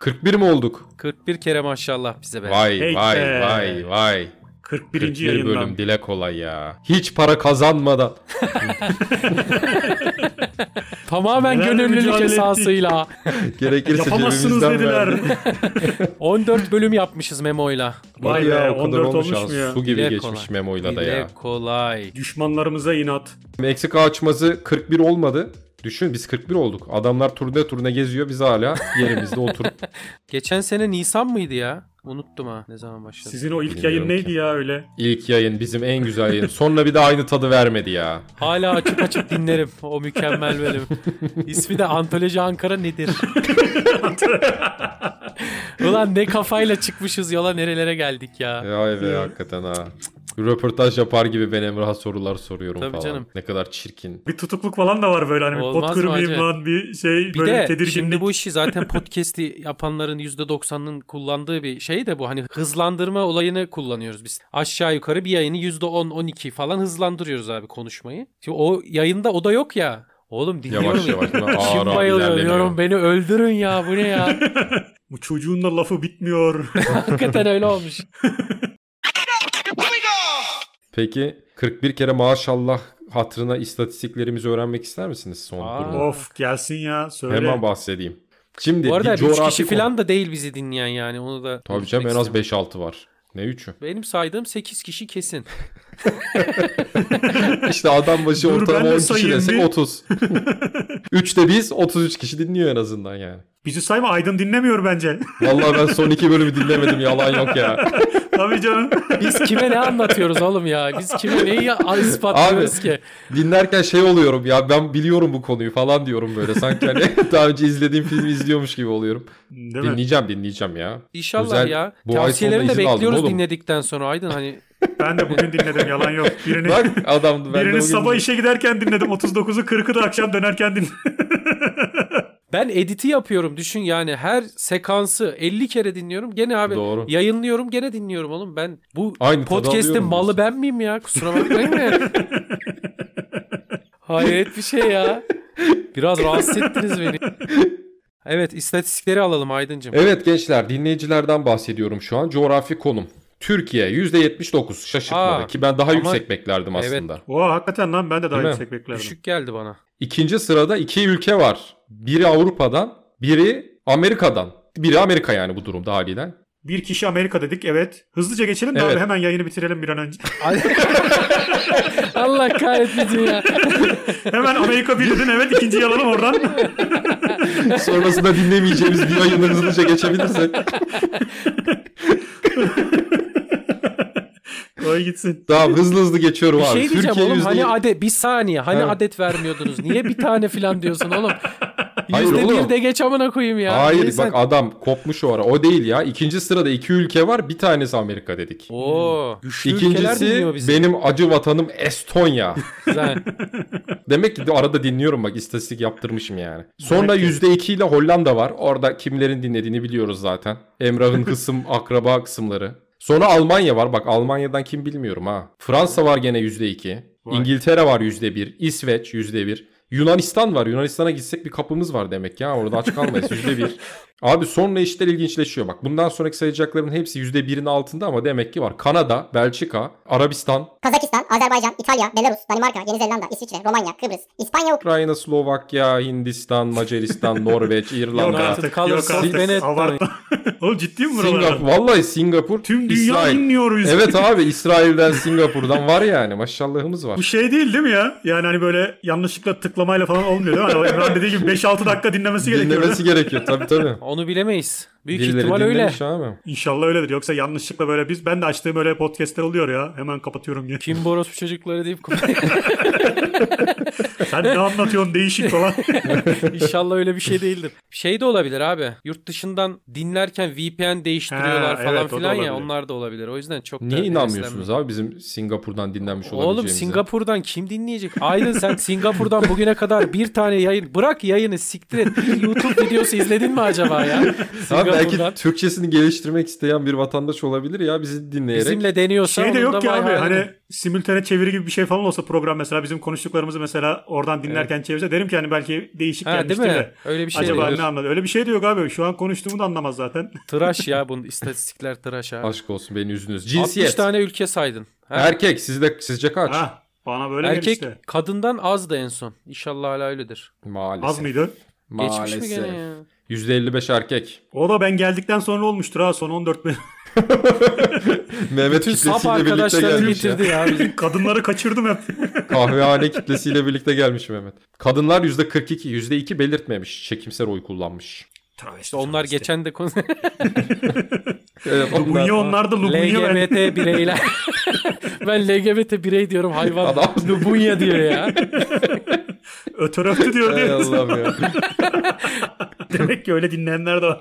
41 mi olduk? 41 kere maşallah bize be. Vay Hey vay be. vay vay. 41. 41 yayından. bölüm dile kolay ya. Hiç para kazanmadan. Tamamen Nelerle gönüllülük mücadele esasıyla. Gerekirse Yapamazsınız cebimizden dediler. verdik. 14 bölüm yapmışız Memo'yla. Vay Vallahi be o kadar 14 olmuş olmuş mu ha. ya? Su gibi Dile geçmiş kolay. memoyla da Dile ya. kolay. Düşmanlarımıza inat. Meksika açmazı 41 olmadı. Düşün biz 41 olduk. Adamlar turne turne geziyor biz hala yerimizde oturup. Geçen sene Nisan mıydı ya? Unuttum ha ne zaman başladı. Sizin o ilk Bilmiyorum yayın neydi ki. ya öyle? İlk yayın bizim en güzel yayın. Sonra bir de aynı tadı vermedi ya. Hala açıp açıp dinlerim o mükemmel bölüm. İsmi de Antoloji Ankara nedir? Ulan ne kafayla çıkmışız yola nerelere geldik ya. Vay be hakikaten ha. Röportaj yapar gibi ben Emrah'a sorular soruyorum Tabii falan. canım. Ne kadar çirkin. Bir tutukluk falan da var böyle hani bir Olmaz pot mı kırmayayım hacı? lan bir şey Bir böyle de tedirginlik. şimdi bu işi zaten podcast'i yapanların %90'ının kullandığı bir şey de bu. Hani hızlandırma olayını kullanıyoruz biz. Aşağı yukarı bir yayını %10-12 falan hızlandırıyoruz abi konuşmayı. Şimdi o yayında o da yok ya. Oğlum dinliyorum. Yavaş yavaş. Ağır Kim ağır bayılıyor ilerleniyor. diyorum beni öldürün ya bu ne ya. Bu çocuğun da lafı bitmiyor. Hakikaten öyle olmuş. Peki 41 kere maşallah hatırına istatistiklerimizi öğrenmek ister misiniz son Aa. durumu? of gelsin ya söyle. Hemen bahsedeyim. Şimdi Bu arada bir 3 coğrafi kişi konu- falan da değil bizi dinleyen yani onu da. Tabii unutmak canım en az istemem. 5-6 var. Ne 3'ü? Benim saydığım 8 kişi kesin. İşte adam başı Dur, ortalama ben de 10 kişi sayayım desek bir. 30. 3 de biz 33 kişi dinliyor en azından yani. Bizi sayma Aydın dinlemiyor bence. Vallahi ben son 2 bölümü dinlemedim yalan yok ya. Tabii canım. Biz kime ne anlatıyoruz oğlum ya? Biz kime neyi ya- ispatlıyoruz Abi. ki? Dinlerken şey oluyorum ya ben biliyorum bu konuyu falan diyorum böyle sanki hani daha önce izlediğim filmi izliyormuş gibi oluyorum. Değil mi? dinleyeceğim dinleyeceğim ya. İnşallah Güzel. ya. Bu ay Tavsiyelerini sonunda de izin aldım bekliyoruz oğlum. dinledikten sonra Aydın hani. Ben de bugün dinledim yalan yok. Birini, Bak adam ben de birini bugün- sabah işe giderken dinledim. 39'u 40'ı da akşam dönerken dinledim. Ben editi yapıyorum düşün yani her sekansı 50 kere dinliyorum. Gene abi Doğru. yayınlıyorum gene dinliyorum oğlum. Ben bu Aynı tadı podcast'in alıyorum malı diyorsun. ben miyim ya? Kusura bakmayın mı? Hayret bir şey ya. Biraz rahatsız ettiniz beni. Evet istatistikleri alalım Aydıncım. Evet gençler dinleyicilerden bahsediyorum şu an. Coğrafi konum. Türkiye %79 şaşırtmadı Aa, ki ben daha ama- yüksek beklerdim Evet. aslında. Oo hakikaten lan ben de Değil daha mi? yüksek beklerdim. Düşük geldi bana. İkinci sırada iki ülke var. Biri Avrupa'dan, biri Amerika'dan. Biri Amerika yani bu durumda haliyle. Bir kişi Amerika dedik evet. Hızlıca geçelim de Evet. abi hemen yayını bitirelim bir an önce. Allah kahretmesin ya. hemen Amerika bir dedin evet ikinci yalanım oradan. Sonrasında dinlemeyeceğimiz bir yayını hızlıca geçebilirsek. Koy gitsin. Tamam hızlı hızlı geçiyorum Bir abi. şey diyeceğim Türkiye oğlum yüzde- hani adet bir saniye hani Ha. adet vermiyordunuz. Niye bir tane filan diyorsun oğlum? Hayır Yüzde oğlum. bir de geç amına koyayım ya. Hayır Niye bak sen- adam kopmuş o ara. O değil ya. İkinci sırada iki ülke var. Bir tanesi Amerika dedik. Oo. Güçlü ülkeler İkincisi dinliyor bizi. benim acı vatanım Estonya. Güzel. Demek ki de arada dinliyorum bak istatistik yaptırmışım yani. Sonra Demek %2 ile Hollanda var. Orada kimlerin dinlediğini biliyoruz zaten. Emrah'ın kısım akraba kısımları. Sonra Almanya var. Bak Almanya'dan kim bilmiyorum ha. Fransa var gene %2. Vay. İngiltere var %1. İsveç %1. Yunanistan var. Yunanistan'a gitsek bir kapımız var demek ya. Orada aç kalmayız %1. Abi sonra işler ilginçleşiyor. Bak bundan sonraki sayacakların hepsi %1'in altında ama demek ki var. Kanada, Belçika, Arabistan, Kazakistan, Azerbaycan, İtalya, Belarus, Danimarka, Yeni Zelanda, İsviçre, Romanya, Kıbrıs, İspanya, Ukrayna, Slovakya, Hindistan, Macaristan, Norveç, Yok İrlanda, artık, kalır, yok artık. silmene et Abartma. Oğlum ciddi mi buralar? Singapur. Vallahi Singapur, Tüm dünya İsrail. dinliyoruz. Evet abi İsrail'den Singapur'dan var yani maşallahımız Bu var. şey değil değil mi ya? Yani hani böyle yanlışlıkla tıklamayla falan olmuyor değil mi? Hani o Emrah'ın dediği gibi 5-6 dakika dinlemesi gerekiyor. Dinlemesi gerekiyor tabii tabii. Onu bilemeyiz. Büyük Birileri ihtimal öyle. dinlemiş abi. İnşallah öyledir. Yoksa yanlışlıkla böyle biz ben de açtığım öyle podcastler oluyor ya. Hemen kapatıyorum yine. Kim Boros çocukları deyip Sen ne anlatıyorsun değişik falan. inşallah öyle bir şey değildir. Şey de olabilir abi. Yurt dışından dinlerken VPN değiştiriyorlar Ha, falan evet, o da filan ya olabilir. onlar da olabilir. O yüzden çok da Niye heveslenme. inanmıyorsunuz abi bizim Singapur'dan dinlenmiş olabileceğimize? Oğlum Singapur'dan kim dinleyecek? Aydın sen Singapur'dan bugüne kadar bir tane yayın bırak yayını siktir et. Bir YouTube videosu izledin mi acaba ya? Abi belki Singapur'dan. Türkçesini geliştirmek isteyen bir vatandaş olabilir ya bizi dinleyerek. Bizimle deniyorsa şey de onun da yok ki vay abi. haline. Hani simültane çeviri gibi bir şey falan olsa program mesela bizim konuştuklarımızı mesela oradan dinlerken çevirse derim ki hani belki değişik Ha değil gelmiştir mi? de. Öyle bir şey Acaba diyor. ne anladı? Öyle bir şey diyor abi. Şu an konuştuğumu da anlamaz zaten. Tıraş ya bunun istatistikler tıraş abi. Aşk olsun beni üzdünüz. 60 Cinsiyet. tane ülke saydın. Ha, Erkek sizde sizce kaç? Ha, bana böyle Erkek gelmişti. kadından az da en son. İnşallah hala öyledir. Maalesef. Az mıydı? Geçmiş mi Maalesef. gene ya? %55 erkek. O da ben geldikten sonra olmuştur ha son 14 bölüm. Mehmet Bütün sap kitlesiyle birlikte arkadaşlarını gelmiş ya. bitirdi ya. Kadınları kaçırdım hep. Kahvehane kitlesiyle birlikte gelmiş Mehmet. Kadınlar %42, %2 belirtmemiş. Çekimsel oy kullanmış. Travesti, İşte onlar geçen de konu. Evet, onlar- Lubunya onlar da Lubunya ben. LGBT bireyler. ben LGBT birey diyorum hayvan. Adam- Lubunya diyor ya. Ötör ötü diyor Ey diyor. Allah'ım ya. Demek ki öyle dinleyenler de var.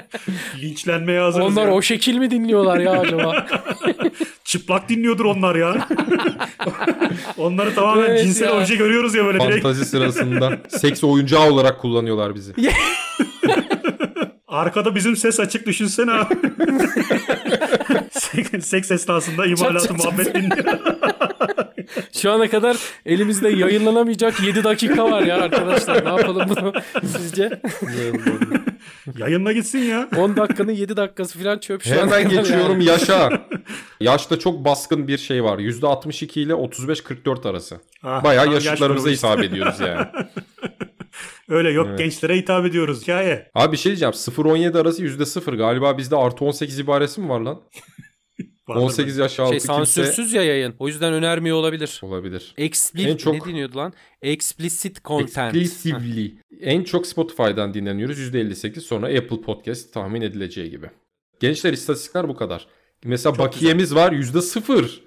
Linçlenmeye hazırız. Onlar ya. o şekil mi dinliyorlar ya acaba? Çıplak dinliyordur onlar ya. Onları tamamen Evet cinsel ya. obje görüyoruz ya böyle direkt. Fantazi sırasında seks oyuncağı olarak kullanıyorlar bizi. Arkada bizim ses açık düşünsene abi. Sek- Seks esnasında imalatı çat, çat. muhabbet dinliyor. Şu ana kadar elimizde yayınlanamayacak 7 dakika var ya arkadaşlar. Ne yapalım bunu sizce? Yayınla gitsin ya. 10 dakikanın 7 dakikası falan çöp şu ana Hemen kadar geçiyorum yani. yaşa. Yaşta çok baskın bir şey var. %62 ile 35-44 arası. Ah, Bayağı tam yaş yaşıtlarımıza grubu işte. hitap ediyoruz yani. Öyle yok Evet. gençlere hitap ediyoruz hikaye. Abi bir şey diyeceğim. 0-17 arası %0 galiba bizde artı 18 ibaresi mi var lan? Vardır 18 yaş altı Şey kimse sansürsüz ya yayın. O yüzden önermiyor olabilir. olabilir. En Explicit çok- ne deniyordu lan? Explicit content. Exclusively. En çok Spotify'dan dinleniyoruz %58 sonra Apple Podcast tahmin edileceği gibi. Gençler istatistikler bu kadar. Mesela bakiyemiz var %0.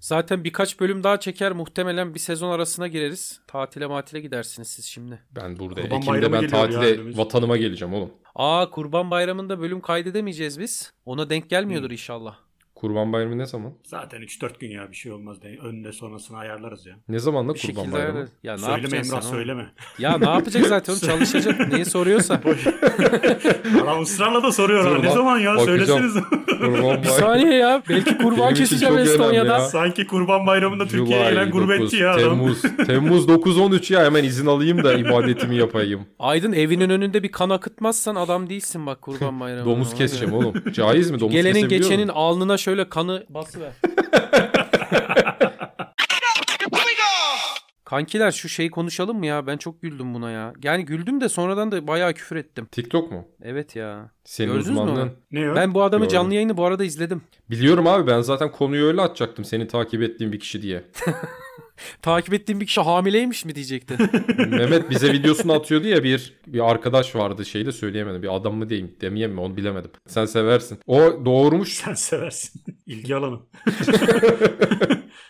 Zaten birkaç bölüm daha çeker muhtemelen bir sezon arasına gireriz. Tatile matile gidersiniz siz şimdi. Ben burada Kurban Ekim'de bayramı ben geliyor tatile ya önümüz. vatanıma geleceğim oğlum. Aa Kurban Bayramı'nda bölüm kaydedemeyeceğiz biz. Ona denk Hmm. gelmiyordur inşallah. Kurban bayramı ne zaman? Zaten 3-4 gün ya bir şey olmaz. De. Önüne sonrasını ayarlarız ya. Ne zaman da Bir kurban şekilde bayramı? ayarlarız. Ya ne söyleme yapacaksın Emrah sen oğlum? söyleme. Ya ne yapacak zaten oğlum çalışacak. Neyi soruyorsa. Adam ısrarla da soruyor Dur ha. Ne lan, zaman ya bakacağım. söyleseniz. Kurban Bir bayramı. saniye ya. Belki kurban Benim için keseceğim çok önemli Estonya'dan. ya. Sanki Kurban Bayramı'nda Türkiye'ye July gelen 9, gurbetçi ya adam. Temmuz. Temmuz 9-13 ya hemen izin alayım da ibadetimi yapayım. Aydın evinin önünde bir kan akıtmazsan adam değilsin bak kurban bayramı. Domuz keseceğim oğlum. Caiz mi? Domuz Gelenin kesebiliyor geçenin muyum? alnına şöyle kanı basıver. Kankiler şu şeyi konuşalım mı ya? Ben çok güldüm buna ya. Yani güldüm de sonradan da bayağı küfür ettim. TikTok mu? Evet ya. Senin Gördünüz mü uzmanlığın. onu? Ne o? Ben bu adamı Gördüm. canlı yayını bu arada izledim. Biliyorum abi ben zaten konuyu öyle atacaktım seni takip ettiğim bir kişi diye. Takip ettiğim bir kişi hamileymiş mi diyecekti. Mehmet bize videosunu atıyordu ya bir bir arkadaş vardı şeyle söyleyemedim. Bir adam mı diyeyim demeyeyim mi onu bilemedim. Sen seversin. O doğurmuş. Sen seversin. İlgi alanı.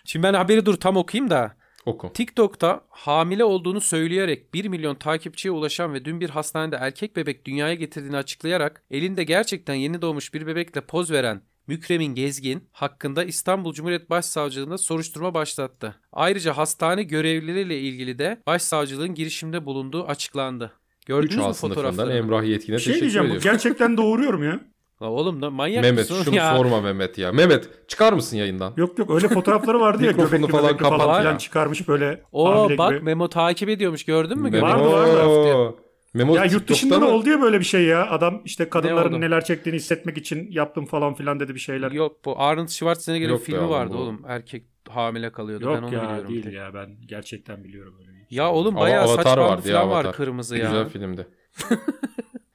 Şimdi ben haberi dur tam okuyayım da. Oku. TikTok'ta hamile olduğunu söyleyerek 1 milyon takipçiye ulaşan ve dün bir hastanede erkek bebek dünyaya getirdiğini açıklayarak elinde gerçekten yeni doğmuş bir bebekle poz veren Mükremin Gezgin hakkında İstanbul Cumhuriyet Başsavcılığında soruşturma başlattı. Ayrıca hastane görevlileriyle ilgili de başsavcılığın girişimde bulunduğu açıklandı. 3 Gördünüz mü A sınıfından fotoğrafları? Emrah Yetkin'e Bir şey teşekkür diyeceğim bu ediyorum. gerçekten doğuruyorum ya. La oğlum da manyak Mehmet mısın şunu ya? sorma Mehmet ya. Mehmet çıkar mısın yayından? Yok yok öyle fotoğrafları vardı ya Mikrofonu göbekli falan falan, falan, kapat filan ya. çıkarmış böyle Oo hamile bak gibi. Memo takip ediyormuş gördün mü? Memo. Vardı, vardı. Memo Ya yurt TikTok'ta dışında da mı? oldu ya böyle bir şey ya. Adam işte kadınların oldu? neler çektiğini hissetmek için yaptım falan filan dedi bir şeyler. Yok, Yok bu Arnold Schwarzenegger'in Yok be filmi oğlum, vardı bu- oğlum. Erkek hamile kalıyordu. ben onu ya biliyorum. değil ya ben gerçekten biliyorum öyle. bir şey. Ya oğlum Ama bayağı saç Avatar bandı vardı ya, falan var Avatar. kırmızı ya. Güzel filmdi.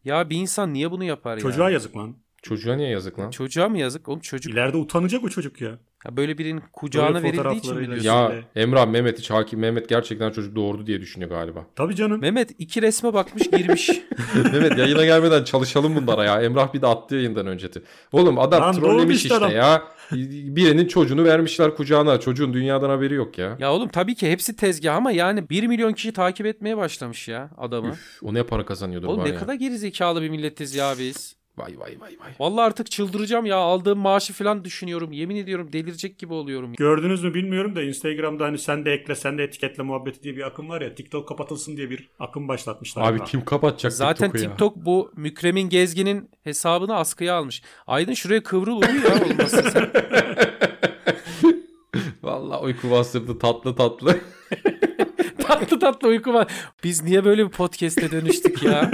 Ya bir insan niye bunu yapar Çocuğa ya? yazık lan. Çocuğa niye yazık lan? Çocuğa mı yazık? Oğlum çocuk İleride utanacak o çocuk ya. ya böyle birinin kucağına Böyle verildiği için mi fotoğraflarıyla- diyorsun? Ya Kesinlikle. Emrah Mehmet hiç hakim. Mehmet gerçekten çocuk doğurdu diye düşünüyor galiba. Tabii canım. Mehmet iki resme bakmış girmiş. Mehmet yayına gelmeden çalışalım bunlara ya. Emrah bir de attı yayından önceki. Oğlum adam Lan trollemiş doğrumuş işte adam. ya. Birinin çocuğunu vermişler kucağına. Çocuğun dünyadan haberi yok ya. ya oğlum tabii ki hepsi tezgah ama yani 1 milyon kişi takip etmeye başlamış ya adamı. Üf, o ne para kazanıyordur oğlum var ne ya. kadar gerizekalı bir milletiz ya biz. Vay vay vay vay. Vallahi artık çıldıracağım ya aldığım maaşı falan düşünüyorum. Yemin ediyorum delirecek gibi oluyorum. Gördünüz mü bilmiyorum da Instagram'da hani sen de ekle sen de etiketle muhabbeti diye bir akım var ya. TikTok kapatılsın diye bir akım başlatmışlar. Abi Ha. kim kapatacak Zaten TikTok'u ya? TikTok bu Mükremin Gezgin'in hesabını askıya almış. Aydın şuraya kıvrıl uyu ya olmasın sen. Vallahi Aa, Uyku bastırdı tatlı tatlı. tatlı tatlı uyku var. Biz niye böyle bir podcast'e dönüştük ya?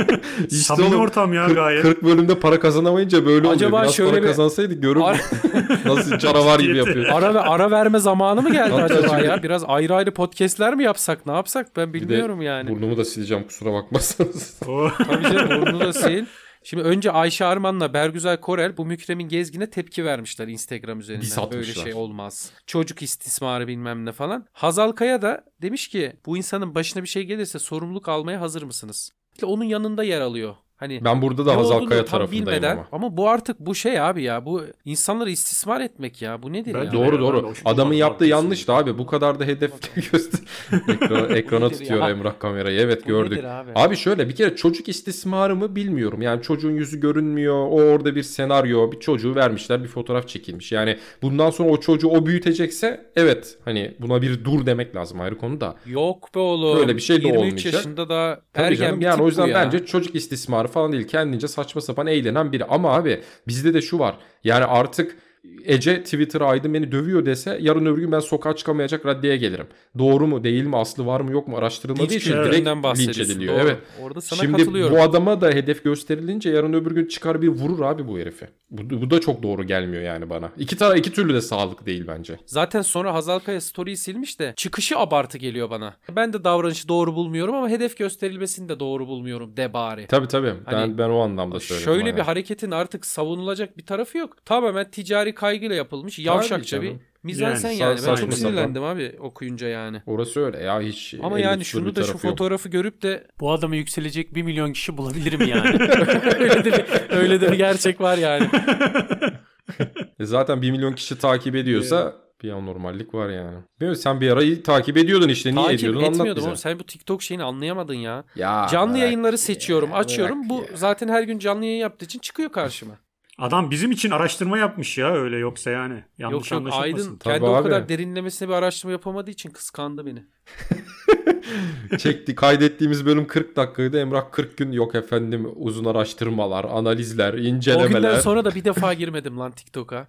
Samimi oğlum, ortam ya 40, gayet. 40 bölümde para kazanamayınca böyle oluyor. Acaba Biraz şöyle para bir- kazansaydık görür Ara- müsün? Nasıl canavar gibi Ciddiyeti. yapıyor. Ara ve ara verme zamanı mı geldi Tabii, acaba tabii. ya? Biraz ayrı ayrı podcast'ler mi yapsak? Ne yapsak? Ben Bir de bilmiyorum yani. Burnumu da sileceğim kusura bakmazsanız. Oo. Tabii canım burnunu da sil. Şimdi önce Ayşe Arman'la Bergüzar Korel bu Mükrem'in gezgine tepki vermişler Instagram üzerinden. Diss atmışlar. Böyle şey olmaz. Çocuk istismarı bilmem ne falan. Hazal Kaya da demiş ki bu insanın başına bir şey gelirse sorumluluk almaya hazır mısınız? İşte onun yanında yer alıyor. Hani E, Ben burada da ne Hazal olduğunu Kaya tam tarafındayım bilmeden- ama. bu artık bu şey abi ya. Bu insanları istismar etmek ya. Bu nedir Ben ya? de- Doğru Yani ben de doğru. hoşuma Adamın gitmedi yaptığı abi, yanlıştı kesinlikle. abi. Bu kadar da hedef göster. ekrana, ekrana Nedir tutuyor ya? Emrah kamerayı. Evet Bu gördük. nedir abi? Abi şöyle bir kere çocuk istismarı mı bilmiyorum. Yani çocuğun yüzü görünmüyor. O orada bir senaryo. Bir çocuğu vermişler bir fotoğraf çekilmiş. Yani bundan sonra o çocuğu o büyütecekse evet hani buna bir dur demek lazım ayrı konu da. Yok be oğlum. Böyle bir şey de 23 olmayacak. yaşında da Tabii ergen canım. bir Yani tip o yüzden bu ya. bence çocuk istismarı falan değil. Kendince saçma sapan eğlenen biri. Ama abi bizde de şu var. Yani artık Ece Twitter'a aydın beni dövüyor dese yarın öbür gün ben sokağa çıkamayacak raddeye gelirim. Doğru mu değil mi aslı var mı yok mu araştırılmadığı Linç için direkt kültüründen linç bahsediyorsun. ediliyor. Doğru. Evet. Orada sana Şimdi katılıyorum. bu adama da hedef gösterilince yarın öbür gün çıkar bir vurur abi bu herifi. Bu, bu da çok doğru gelmiyor yani bana. İki tara iki türlü de sağlık değil bence. Zaten sonra Hazal Kaya story'i silmiş de çıkışı abartı geliyor bana. Ben de davranışı doğru bulmuyorum ama hedef gösterilmesini de doğru bulmuyorum de bari. Tabii tabii. Hani ben ben o anlamda söyledim. Şöyle hani. bir hareketin artık savunulacak bir tarafı yok. Tamamen ticari kaygıyla yapılmış yavşakça bir canım. mizansen Yani yani. sa- Ben saçma çok sapan. sinirlendim abi okuyunca yani. Orası öyle ya hiç. Ama elle yani tutulur bir şunu da şu tarafı yok. fotoğrafı görüp de Bu adama yükselecek 1 milyon kişi bulabilirim yani. öyle de bir, öyle de bir gerçek var yani. E zaten 1 milyon kişi takip ediyorsa bir anormallik var yani. Bilmiyorum sen bir arayı takip ediyordun işte. Niye Takip ediyordun anlat etmiyordum bize. oğlum. Sen bu TikTok şeyini anlayamadın ya. Ya, Canlı Ah, bırak yayınları ya, seçiyorum, bırak açıyorum. Bu ya. zaten her gün canlı yayın yaptığı için çıkıyor karşıma. Adam bizim için araştırma yapmış ya öyle yoksa yani. Yanlış yok yok anlaşılmasın. Aydın Tabii kendi o abi. kadar derinlemesine bir araştırma yapamadığı için kıskandı beni. Çekti kaydettiğimiz bölüm 40 dakikaydı. Emrah 40 gün yok efendim uzun araştırmalar, analizler, O günden incelemeler. sonra da bir defa girmedim lan TikTok'a.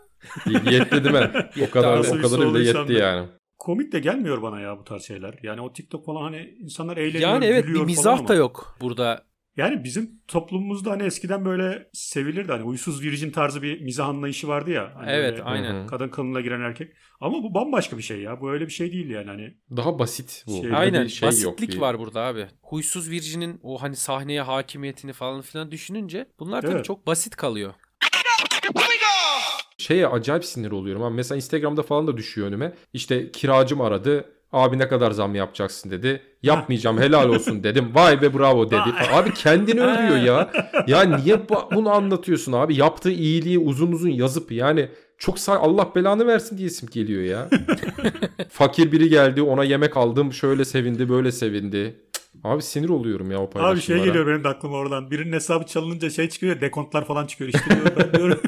yetti değil mi? o kadar Nasıl o bir kadar bile soruysan yetti da. yani. Komik de gelmiyor bana ya bu tarz şeyler. Yani o TikTok falan hani insanlar eğleniyor, yani evet bir gülüyor mizah falan da ama. yok burada. Yani bizim toplumumuzda hani eskiden böyle sevilirdi hani uysuz virgin tarzı bir mizah anlayışı vardı ya. Hani Evet, böyle aynen. Hı hı. Kadın kılığına giren erkek. Ama bu bambaşka bir şey ya. Bu öyle bir şey değil yani hani. Daha basit bu. Şey- Burada Aynen bir şey yok, basitlik bir- var burada abi. Huysuz Virgin'in o hani sahneye hakimiyetini falan filan düşününce bunlar tabii Evet. çok basit kalıyor. Şeye acayip sinir oluyorum. Ama mesela Instagram'da falan da düşüyor önüme. İşte kiracım aradı. Abi ne kadar zam yapacaksın dedi. Yapmayacağım helal olsun dedim. Vay be bravo dedi. Vay. Abi kendini övüyor ya. Ya niye bu- bunu anlatıyorsun abi? Yaptığı iyiliği uzun uzun yazıp yani çok sağ Allah belanı versin diyesim geliyor ya. Fakir biri geldi ona yemek aldım. Şöyle sevindi böyle sevindi. Cık, Abi sinir oluyorum ya o paylaşımlara. Abi şey geliyor benim de aklıma oradan. Birinin hesabı çalınınca şey çıkıyor ya, dekontlar falan çıkıyor. İşte diyor, ben diyorum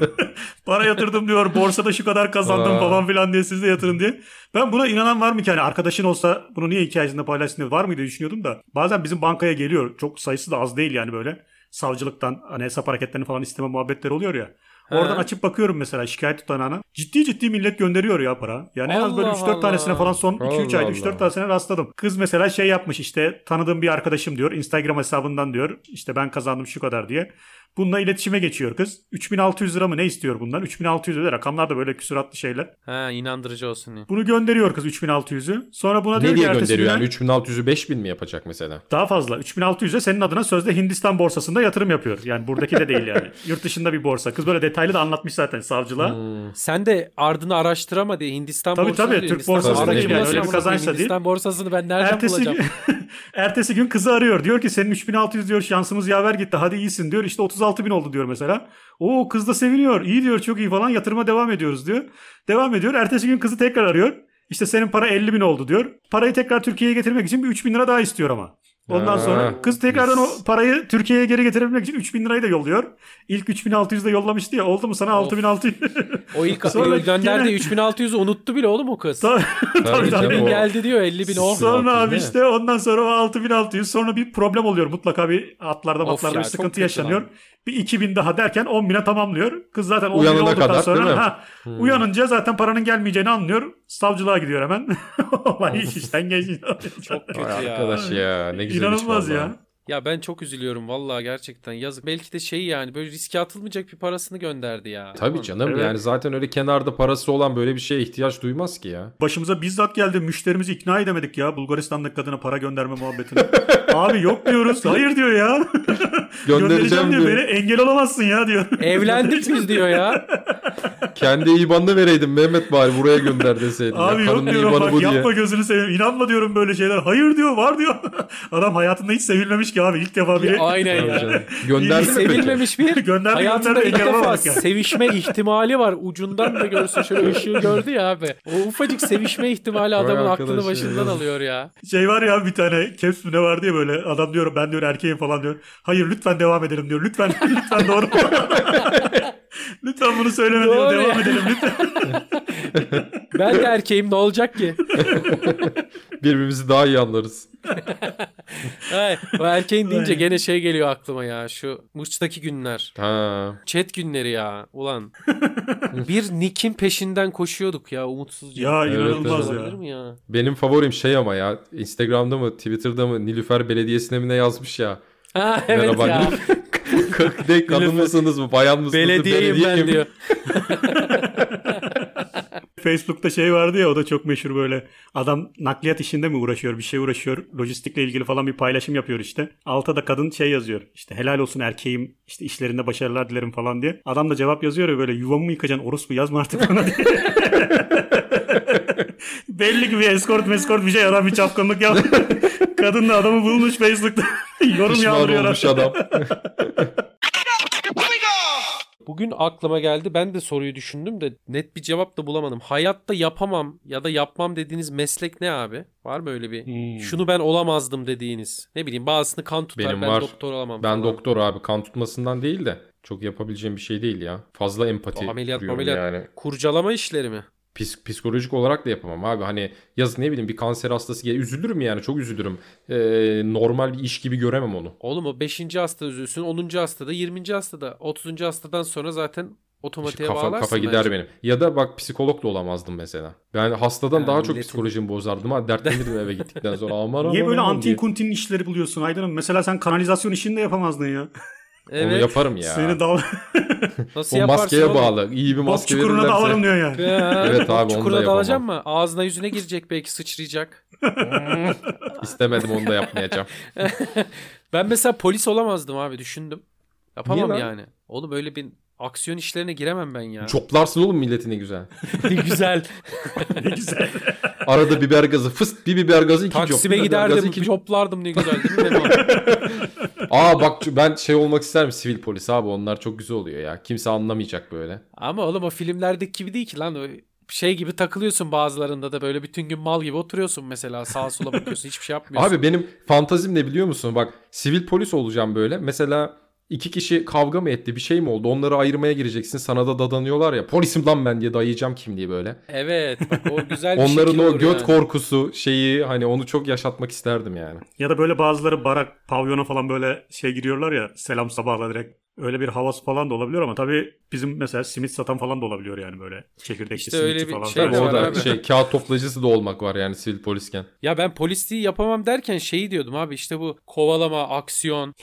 para yatırdım diyor borsada şu kadar kazandım Aa. falan filan diye siz de yatırın diye. Ben buna inanan var mı ki? Hani arkadaşın olsa bunu niye hikayesinde paylaşsın diye var mıydı düşünüyordum da. Bazen bizim bankaya geliyor. Çok sayısı da az değil yani böyle. Savcılıktan hani hesap hareketlerini falan isteme muhabbetleri oluyor ya. Oradan Ha. açıp bakıyorum mesela şikayet tutanağına. Ciddi ciddi millet gönderiyor ya para. Yani en az böyle Allah 3-4 tanesine Allah. falan son Allah 2-3 ayda 3-4 Allah. tanesine rastladım. Kız mesela şey yapmış işte tanıdığım bir arkadaşım diyor. Instagram hesabından diyor. işte ben kazandım şu kadar diye. Bununla iletişime geçiyor kız. 3600 lira mı ne istiyor bundan? 3600 lira rakamlar da böyle küsuratlı şeyler. Ha inandırıcı olsun. ya. Bunu gönderiyor kız 3600'ü. Sonra buna Ne diyor ki diye ertesi gönderiyor güne- yani 3600'ü 5000 mi yapacak mesela? daha fazla. 3600'e senin adına sözde Hindistan borsasında yatırım yapıyor. Yani buradaki de değil yani. Yurt dışında bir borsa. Kız böyle detaylı da anlatmış zaten Hmm. savcılığa. Sen de ardını araştırama diye Hindistan Tabii, borsası tabii, diyor. Türk Hindistan borsası da değil yani, borsası öyle bir amına kazanç koyayım. da değil. Hindistan borsasını ben nereden Ertesi bulacağım? gün, ertesi gün kızı arıyor. Diyor ki senin 3600 diyor şansımız yaver gitti hadi iyisin diyor. İşte 36 bin oldu diyor mesela. O kız da seviniyor. İyi diyor çok iyi falan yatırıma devam ediyoruz diyor. Devam ediyor. Ertesi gün kızı tekrar arıyor. İşte senin para 50 bin oldu diyor. Parayı tekrar Türkiye'ye getirmek için bir 3 bin lira daha istiyor ama. Ondan Ha, sonra kız tekrardan mis. o parayı Türkiye'ye geri getirebilmek için 3000 lirayı da yolluyor. İlk 3600 de yollamıştı ya. Oldu mu sana Of. 6600? O ilk Sonra gönderdi yine- 3600'ü unuttu bile oğlum o kız. Tabii. Tabii tabii. canım, o- Geldi diyor 50 bin oh. sonra abi değil mi? işte ondan sonra o 6600 sonra bir problem oluyor. Mutlaka bir atlarda Of matlarda ya, bir çok sıkıntı kötü yaşanıyor. lan. Bir 2000 daha derken 10.000'e tamamlıyor. Kız zaten 10.000 Uyanana olduktan kadar, sonra değil mi? ha, Hmm. uyanınca zaten paranın gelmeyeceğini anlıyor. Savcılığa gidiyor hemen. Olay iş işten geçiyor. Çok kötü Vay ya. arkadaş ya ne güzel İnanılmaz iş vallahi. ya. Ya ben çok üzülüyorum vallahi gerçekten yazık. Belki de şey yani böyle riske atılmayacak bir parasını gönderdi ya. Tabii canım Evet. yani zaten öyle kenarda parası olan böyle bir şeye ihtiyaç duymaz ki ya. Başımıza bizzat geldi. Müşterimizi ikna edemedik ya Bulgaristan'daki kadına para gönderme muhabbetine. Abi yok diyoruz. Hayır diyor ya. Göndereceğim diyor. Beni engel olamazsın ya diyor. Evlendik biz diyor ya. Kendi IBAN'ını vereydin Mehmet bari buraya gönder deseydin. ya. Abi yok Kadının diyorum IBAN'ı bak bu diye. yapma gözünü seveyim. İnanma diyorum böyle şeyler. Hayır diyor var diyor. Adam hayatında hiç sevilmemiş ki abi. İlk defa biri Aynen Tabii ya. canım. Gönderdi mi peki? Sevilmemiş bir Gönderdi, hayatında gönderdi, ilk defa yakalamadık yani. sevişme ihtimali var. Ucundan da görse şöyle ışığı gördü ya abi. O ufacık sevişme ihtimali Vay adamın arkadaş aklını ya. başından alıyor ya. şey var ya bir tane caps mi ne var diye böyle adam diyor ben diyor erkeğim falan diyor. Hayır lütfen devam edelim diyor. Lütfen lütfen doğru. lütfen bunu söyleme diyor. Doğru ya. Devam edelim lütfen. Ben de erkeğim ne olacak ki? Birbirimizi daha iyi anlarız. Ay, o erkeğin deyince gene şey geliyor aklıma ya. Şu Mırç'taki günler. Ha. Chat günleri ya ulan. bir Nick'in peşinden koşuyorduk ya umutsuzca. Ya Evet, inanılmaz evet. ya. Olabilir mi ya? Benim favorim şey ama ya Instagram'da mı Twitter'da mı Nilüfer Belediyesi'ne mi ne yazmış ya. Ha, evet Merhaba, ya. Kırk ne kadın mısınız mı bayan mısınız? Belediyeyim belediye ben mi? diyor. Facebook'ta şey vardı ya o da çok meşhur böyle. Adam nakliyat işinde mi uğraşıyor bir şey uğraşıyor. Lojistikle ilgili falan bir paylaşım yapıyor işte. Alta da kadın şey yazıyor. İşte helal olsun erkeğim işte işlerinde başarılar dilerim falan diye. Adam da cevap yazıyor ya böyle yuvamı mı yıkacaksın orospu yazma artık bana diye. Belli ki bir eskort meskort bir şey adam bir çapkınlık yaptı. kadın da adamı bulmuş Facebook'ta. Yorum Pişman yağdırıyor. olmuş adam. Bugün aklıma geldi. Ben de soruyu düşündüm de net bir cevap da bulamadım. Hayatta yapamam ya da yapmam dediğiniz meslek ne abi? Var mı öyle bir? Hmm. Şunu ben olamazdım dediğiniz. Ne bileyim bazısını kan tutar. Benim ben var. doktor olamam. Ben falan. doktor abi kan tutmasından değil de çok yapabileceğim bir şey değil ya. Fazla empati Ameliyat, kuruyorum ameliyat. yani. Kurcalama işleri mi? Pis- psikolojik olarak da yapamam abi. Hani yaz ne bileyim bir kanser hastası gel üzülürüm yani çok üzülürüm. Ee, normal bir iş gibi göremem onu. Oğlum o 5. hasta üzülsün, 10. hastada, 20. hastada, 30. hastadan sonra zaten İşte otomatiğe kafa, bağlarsın. kafa gider bence. benim. Ya da bak psikolog da olamazdım mesela. Ben hastadan Ha, daha çok milletin- psikolojimi bozardım ha. Dertlenirdim eve gittikten sonra. Aman Niye aman böyle aman diye. antin kuntin işleri buluyorsun Aydın'ım? Mesela sen kanalizasyon işini de yapamazdın ya. Onu Evet. yaparım ya. Seni dal Nasıl o yaparsın maskeye oğlum? bağlı. İyi bir bok maske çukuruna da verirlerse. alırım diyor yani. Evet abi, onu da Çukura yapamam. dalacak mı? Ağzına yüzüne girecek belki sıçrayacak. İstemedim onu da yapmayacağım. Ben mesela polis olamazdım abi düşündüm. Yapamam Niye lan? yani. Oğlum öyle bir aksiyon işlerine giremem ben ya. Çoplarsın oğlum milleti ne güzel. güzel. Ne güzel. Arada biber gazı fıst bir biber gazı iki cop. Taksim'e bir biber gazı, giderdim, iki cop. coplardım ne güzel değil mi? Leman? Aa bak ben şey olmak isterim sivil polis abi onlar çok güzel oluyor ya. Kimse anlamayacak böyle. Ama oğlum o filmlerdeki gibi değil ki lan. O Şey gibi takılıyorsun bazılarında da böyle bütün gün mal gibi oturuyorsun mesela sağa sola bakıyorsun hiçbir şey yapmıyorsun. Abi benim fantazim ne biliyor musun? Bak sivil polis olacağım böyle. Mesela iki kişi kavga mı etti bir şey mi oldu onları ayırmaya gireceksin sana da dadanıyorlar ya polisim lan ben diye dayayacağım kimliği böyle. Evet bak o güzel bir Onların şekil o olur göt yani. korkusu şeyi hani onu çok yaşatmak isterdim yani. Ya da böyle bazıları barak, pavyona falan böyle şey giriyorlar ya selam sabahla direkt. Öyle bir havası falan da olabiliyor ama tabii bizim mesela simit satan falan da olabiliyor yani böyle çekirdekli İşte simitçi öyle bir falan. şey Tabii de o var da abi. şey kağıt toplacısı da olmak var yani sivil polisken. Ya ben polisliği yapamam derken şeyi diyordum abi işte bu kovalama, aksiyon,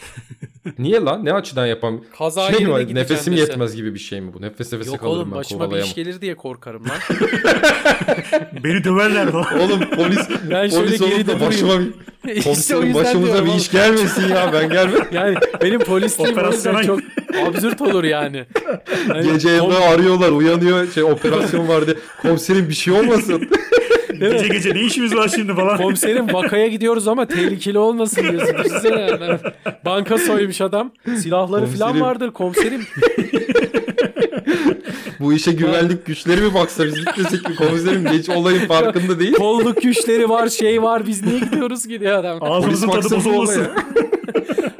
Niye lan ne açıdan yapam? kaza Şey mi yerine var, gideceğim nefesim dese. yetmez gibi bir şey mi bu? Nefes nefese Yok kalırım oğlum ben başıma bir kovalayamam. iş gelir diye korkarım lan. Beni döverler falan. Oğlum polis Ben şöyle polis geride olup da başıma bir İşte o komiserim yüzden başımıza diyorum bir oğlum. iş gelmesin ya ben gelmem. Yani benim polisliğim o yüzden Operasyona- çok absürt olur yani. Hani Gece kom- evde arıyorlar uyanıyor şey operasyon vardı. Komiserim bir şey olmasın. gece gece ne işimiz var şimdi falan. Komiserim vakaya gidiyoruz ama tehlikeli olmasın diyorsun. Size yani. Hani Banka soymuş adam. Silahları falan Komiserim. vardır komiserim. Bu işe güvenlik güçleri mi baksa biz gitmesek mi komiserim de hiç olayın farkında değil. Kolluk güçleri var şey var biz niye gidiyoruz ki diyor adam. Ağzımızın Polis tadı baksa bu bozulmasın. olaya.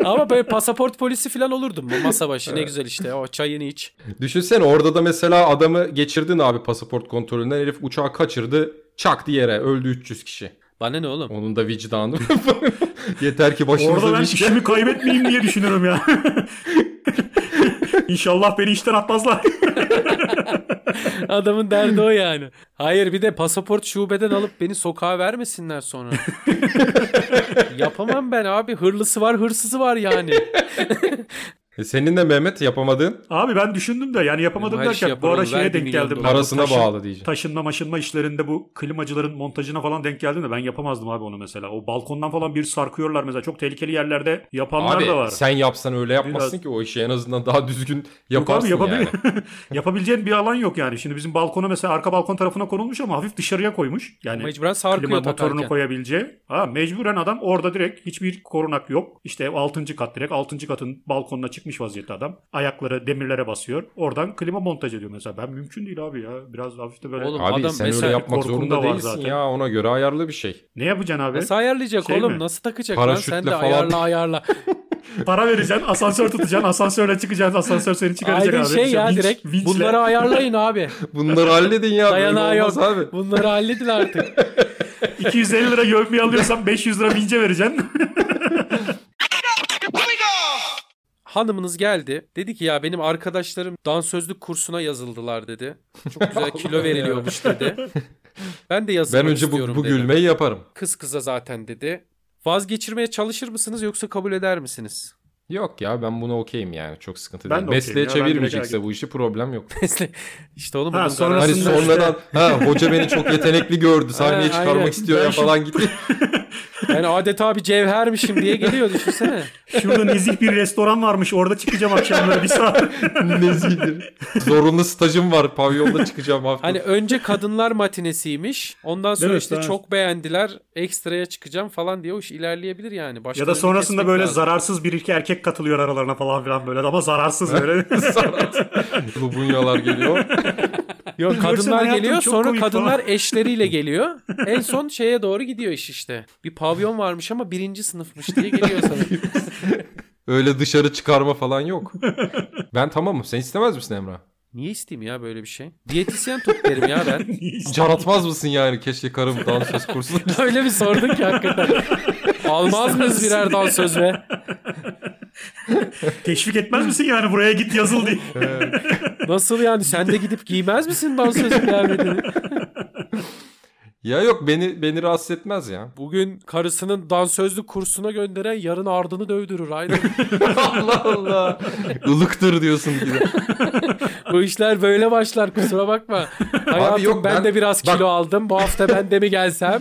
Ama böyle pasaport polisi falan olurdum bu masa başı ne güzel işte o çayını iç. Düşünsene orada da mesela adamı geçirdin abi pasaport kontrolünden herif uçağı kaçırdı çaktı yere öldü 300 kişi. Bana ne oğlum? Onun da vicdanı yeter ki başımıza Orada ben bir şey. işimi kaybetmeyeyim diye düşünüyorum ya. İnşallah beni işten atmazlar. Adamın derdi o yani. Hayır bir de pasaport şubeden alıp beni sokağa vermesinler sonra. Yapamam ben abi hırlısı var hırsızı var yani. E Senin de Mehmet yapamadığın Abi ben düşündüm de yani yapamadım Her şey derken bu yaparım, ara ver şeye bir denk milyon geldim. ben. dolar. Bu parasına taşın- bağlı diyeceğim. Taşınma maşınma işlerinde bu klimacıların montajına falan denk geldim de ben yapamazdım abi onu mesela. O balkondan falan bir sarkıyorlar mesela. Çok tehlikeli yerlerde yapanlar Abi da var. sen yapsan öyle yapmazsın Biraz- ki o işi en azından daha düzgün Yok yaparsın abi yani. yapabil- yapabileceğin bir alan yok yani. Şimdi bizim balkona mesela arka balkon tarafına konulmuş ama hafif dışarıya koymuş. Yani Mecburen klima sarkıyor motorunu takarken. koyabileceği. Ha, mecburen adam orada direkt hiçbir korunak yok. İşte 6. kat direkt 6. katın balkonuna çıkmış vaziyette adam. Ayakları demirlere basıyor. Oradan klima montaj ediyor mesela. Ben mümkün değil abi ya. Biraz hafif de böyle. Oğlum, Abi Adam sen mesela öyle yapmak korkum da zorunda var değilsin zaten. ya ona göre ayarlı bir şey. Ne yapacaksın abi? Nasıl ayarlayacak Şey oğlum? mi? Nasıl takacak Paraşütle lan? Sen de falan. ayarla ayarla. Para vereceksin, asansör tutacaksın, asansörle çıkacaksın, asansör seni çıkaracak Aydın abi. şey ya Vinç- direkt vinçle. bunları ayarlayın abi. Bunları halledin ya. böyle Dayanağı olmaz yok. abi. Bunları halledin artık. 250 lira gömleği alıyorsan 500 lira vince vereceksin. Hanımınız geldi. Dedi ki ya benim arkadaşlarım dansözlük kursuna yazıldılar dedi. Çok güzel kilo veriliyormuş dedi. Ben de yazılmak Ben önce bu, istiyorum bu dedi. gülmeyi yaparım. Kız kıza zaten dedi. Vazgeçirmeye çalışır mısınız yoksa kabul eder misiniz? Yok ya ben buna okeyim yani çok sıkıntı Ben değil. de okeyim Mesleğe ya, ben direkt çevirmeyecekse erkek. bu işi problem yok. işte oğlum Ha, bunun sonra- garantisi- Hani Aslında sonradan ha hoca beni çok yetenekli gördü sahneye Ha, çıkarmak aynen. istiyor Ben ya şimdi- falan gitti. Yani adeta bir cevhermişim diye geliyor düşünsene. Şurada nezih bir restoran varmış orada çıkacağım akşamları bir saat. Nezihdir. Zorunlu stajım var pavyonda çıkacağım hafta. Hani önce kadınlar matinesiymiş. Ondan sonra Evet, işte evet. çok beğendiler. Ekstraya çıkacağım falan diye o iş ilerleyebilir yani. ya da Başlarını sonrasında kesmek böyle lazım. zararsız bir iki erkek katılıyor aralarına falan filan böyle ama zararsız böyle. Lubunyalar geliyor. Yok Görsen kadınlar hayatım geliyor çok sonra komik kadınlar falan. eşleriyle geliyor. En son şeye doğru gidiyor iş işte. Bir pavyon varmış ama birinci sınıfmış diye geliyor sana. Öyle dışarı çıkarma falan yok. Ben tamamım. Sen istemez misin Emrah? Niye isteyeyim ya böyle bir şey? Diyetisyen tut derim ya ben. Caratmaz mısın yani? Keşke karım dansöz kursuna Öyle bir sordun ki hakikaten. Almaz mıyız birer dans söz be? Teşvik etmez misin yani buraya git yazıl diye. Nasıl yani sen de gidip giymez misin dans söz kıyafetini? Ya yok beni beni rahatsız etmez ya. Bugün karısının dansözlük kursuna gönderen yarın ardını dövdürür aynı. Allah Allah. Ilıktır diyorsun bir de. Bu işler böyle başlar kusura bakma. Hayatım yok, ben, ben- de biraz bak- kilo aldım. Bu hafta ben de mi gelsem?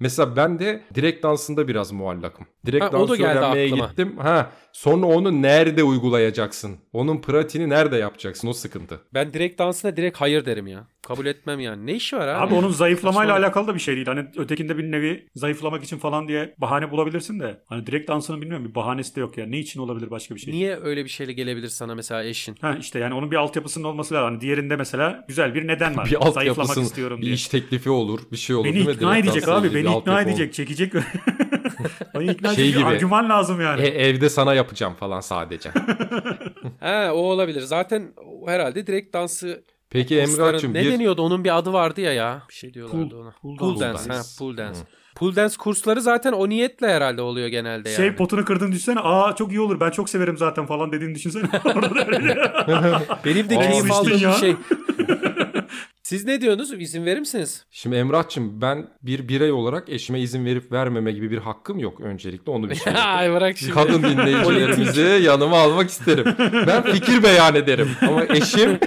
Mesela ben de direkt dansında biraz muallakım. Direkt Ha, o da dansı geldi öğrenmeye aklıma. gittim. Ha, sonra onu nerede uygulayacaksın? Onun pratiğini nerede yapacaksın? O sıkıntı. Ben direkt dansına direkt hayır derim ya. Kabul etmem yani. Ne işi var abi? Abi onun zayıflamayla Saçmalık. alakalı da bir şey değil. Hani ötekinde bir nevi zayıflamak için falan diye bahane bulabilirsin de. Hani direkt dansını bilmiyorum bir bahanesi de yok ya. Ne için olabilir başka bir şey? Niye öyle bir şeyle gelebilir sana mesela eşin? Ha işte yani onun bir altyapısının olması lazım. Hani diğerinde mesela güzel bir neden var. Bir alt zayıflamak yapısın, istiyorum bir diye. iş teklifi olur, bir şey olur. Beni değil mi? ikna Direkt edecek dansla abi. ilgili Beni bir ikna altyapı edecek. Çekecek. Beni ikna Şey edecek. gibi. Argüman lazım yani. olur. E, evde sana yapacağım falan sadece. He o olabilir. Zaten o herhalde direkt dansı Peki kursların... Emrah'cığım Ne bir deniyordu? Onun bir adı vardı ya ya. Bir şey diyorlardı ona. Pool, dance. dance. Ha, pool dance. Pool dance kursları zaten o niyetle herhalde oluyor genelde yani. Şey potunu kırdın düşsene. Aa çok iyi olur. Ben çok severim zaten falan dediğini düşünsene. Orada da öyle. Benim de Aa, keyif sıçtın aldığım bir ya. şey. Siz ne diyorsunuz? İzin verir misiniz? Şimdi Emrah'cığım ben bir birey olarak eşime izin verip vermeme gibi bir hakkım yok öncelikle onu bir şey Ay bırak şimdi. Kadın dinleyicilerimizi yanıma almak isterim. Ben fikir beyan ederim ama eşim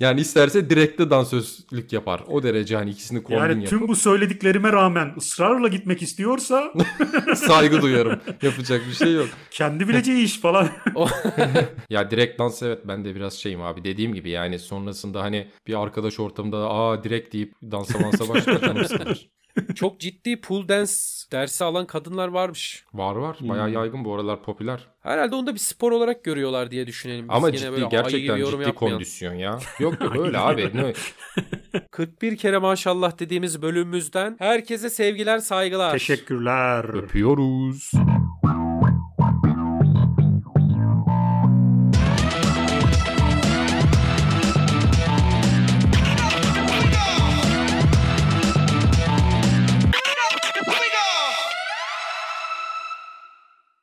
yani isterse direkte dansözlük yapar. O derece hani ikisini kombin yani yapar. tüm bu söylediklerime rağmen ısrarla gitmek istiyorsa Saygı duyarım. Yapacak bir şey yok. kendi bileceği iş falan. Ya direkt dans evet ben de biraz şeyim abi dediğim gibi yani sonrasında hani bir arkadaş ortamında aa direkt deyip dansa mansa başlar canım sıkılır. Çok ciddi pool dance dersi alan kadınlar varmış. Var var. Bayağı Hmm. yaygın bu aralar popüler. Herhalde onu da bir spor olarak görüyorlar diye düşünelim. Biz Ama gene ciddi böyle ayı gerçekten gibi yorum ciddi yapmayalım. kondisyon ya. Yok yok öyle abi. Ne- 41 kere maşallah dediğimiz bölümümüzden herkese sevgiler saygılar. Teşekkürler. Öpüyoruz.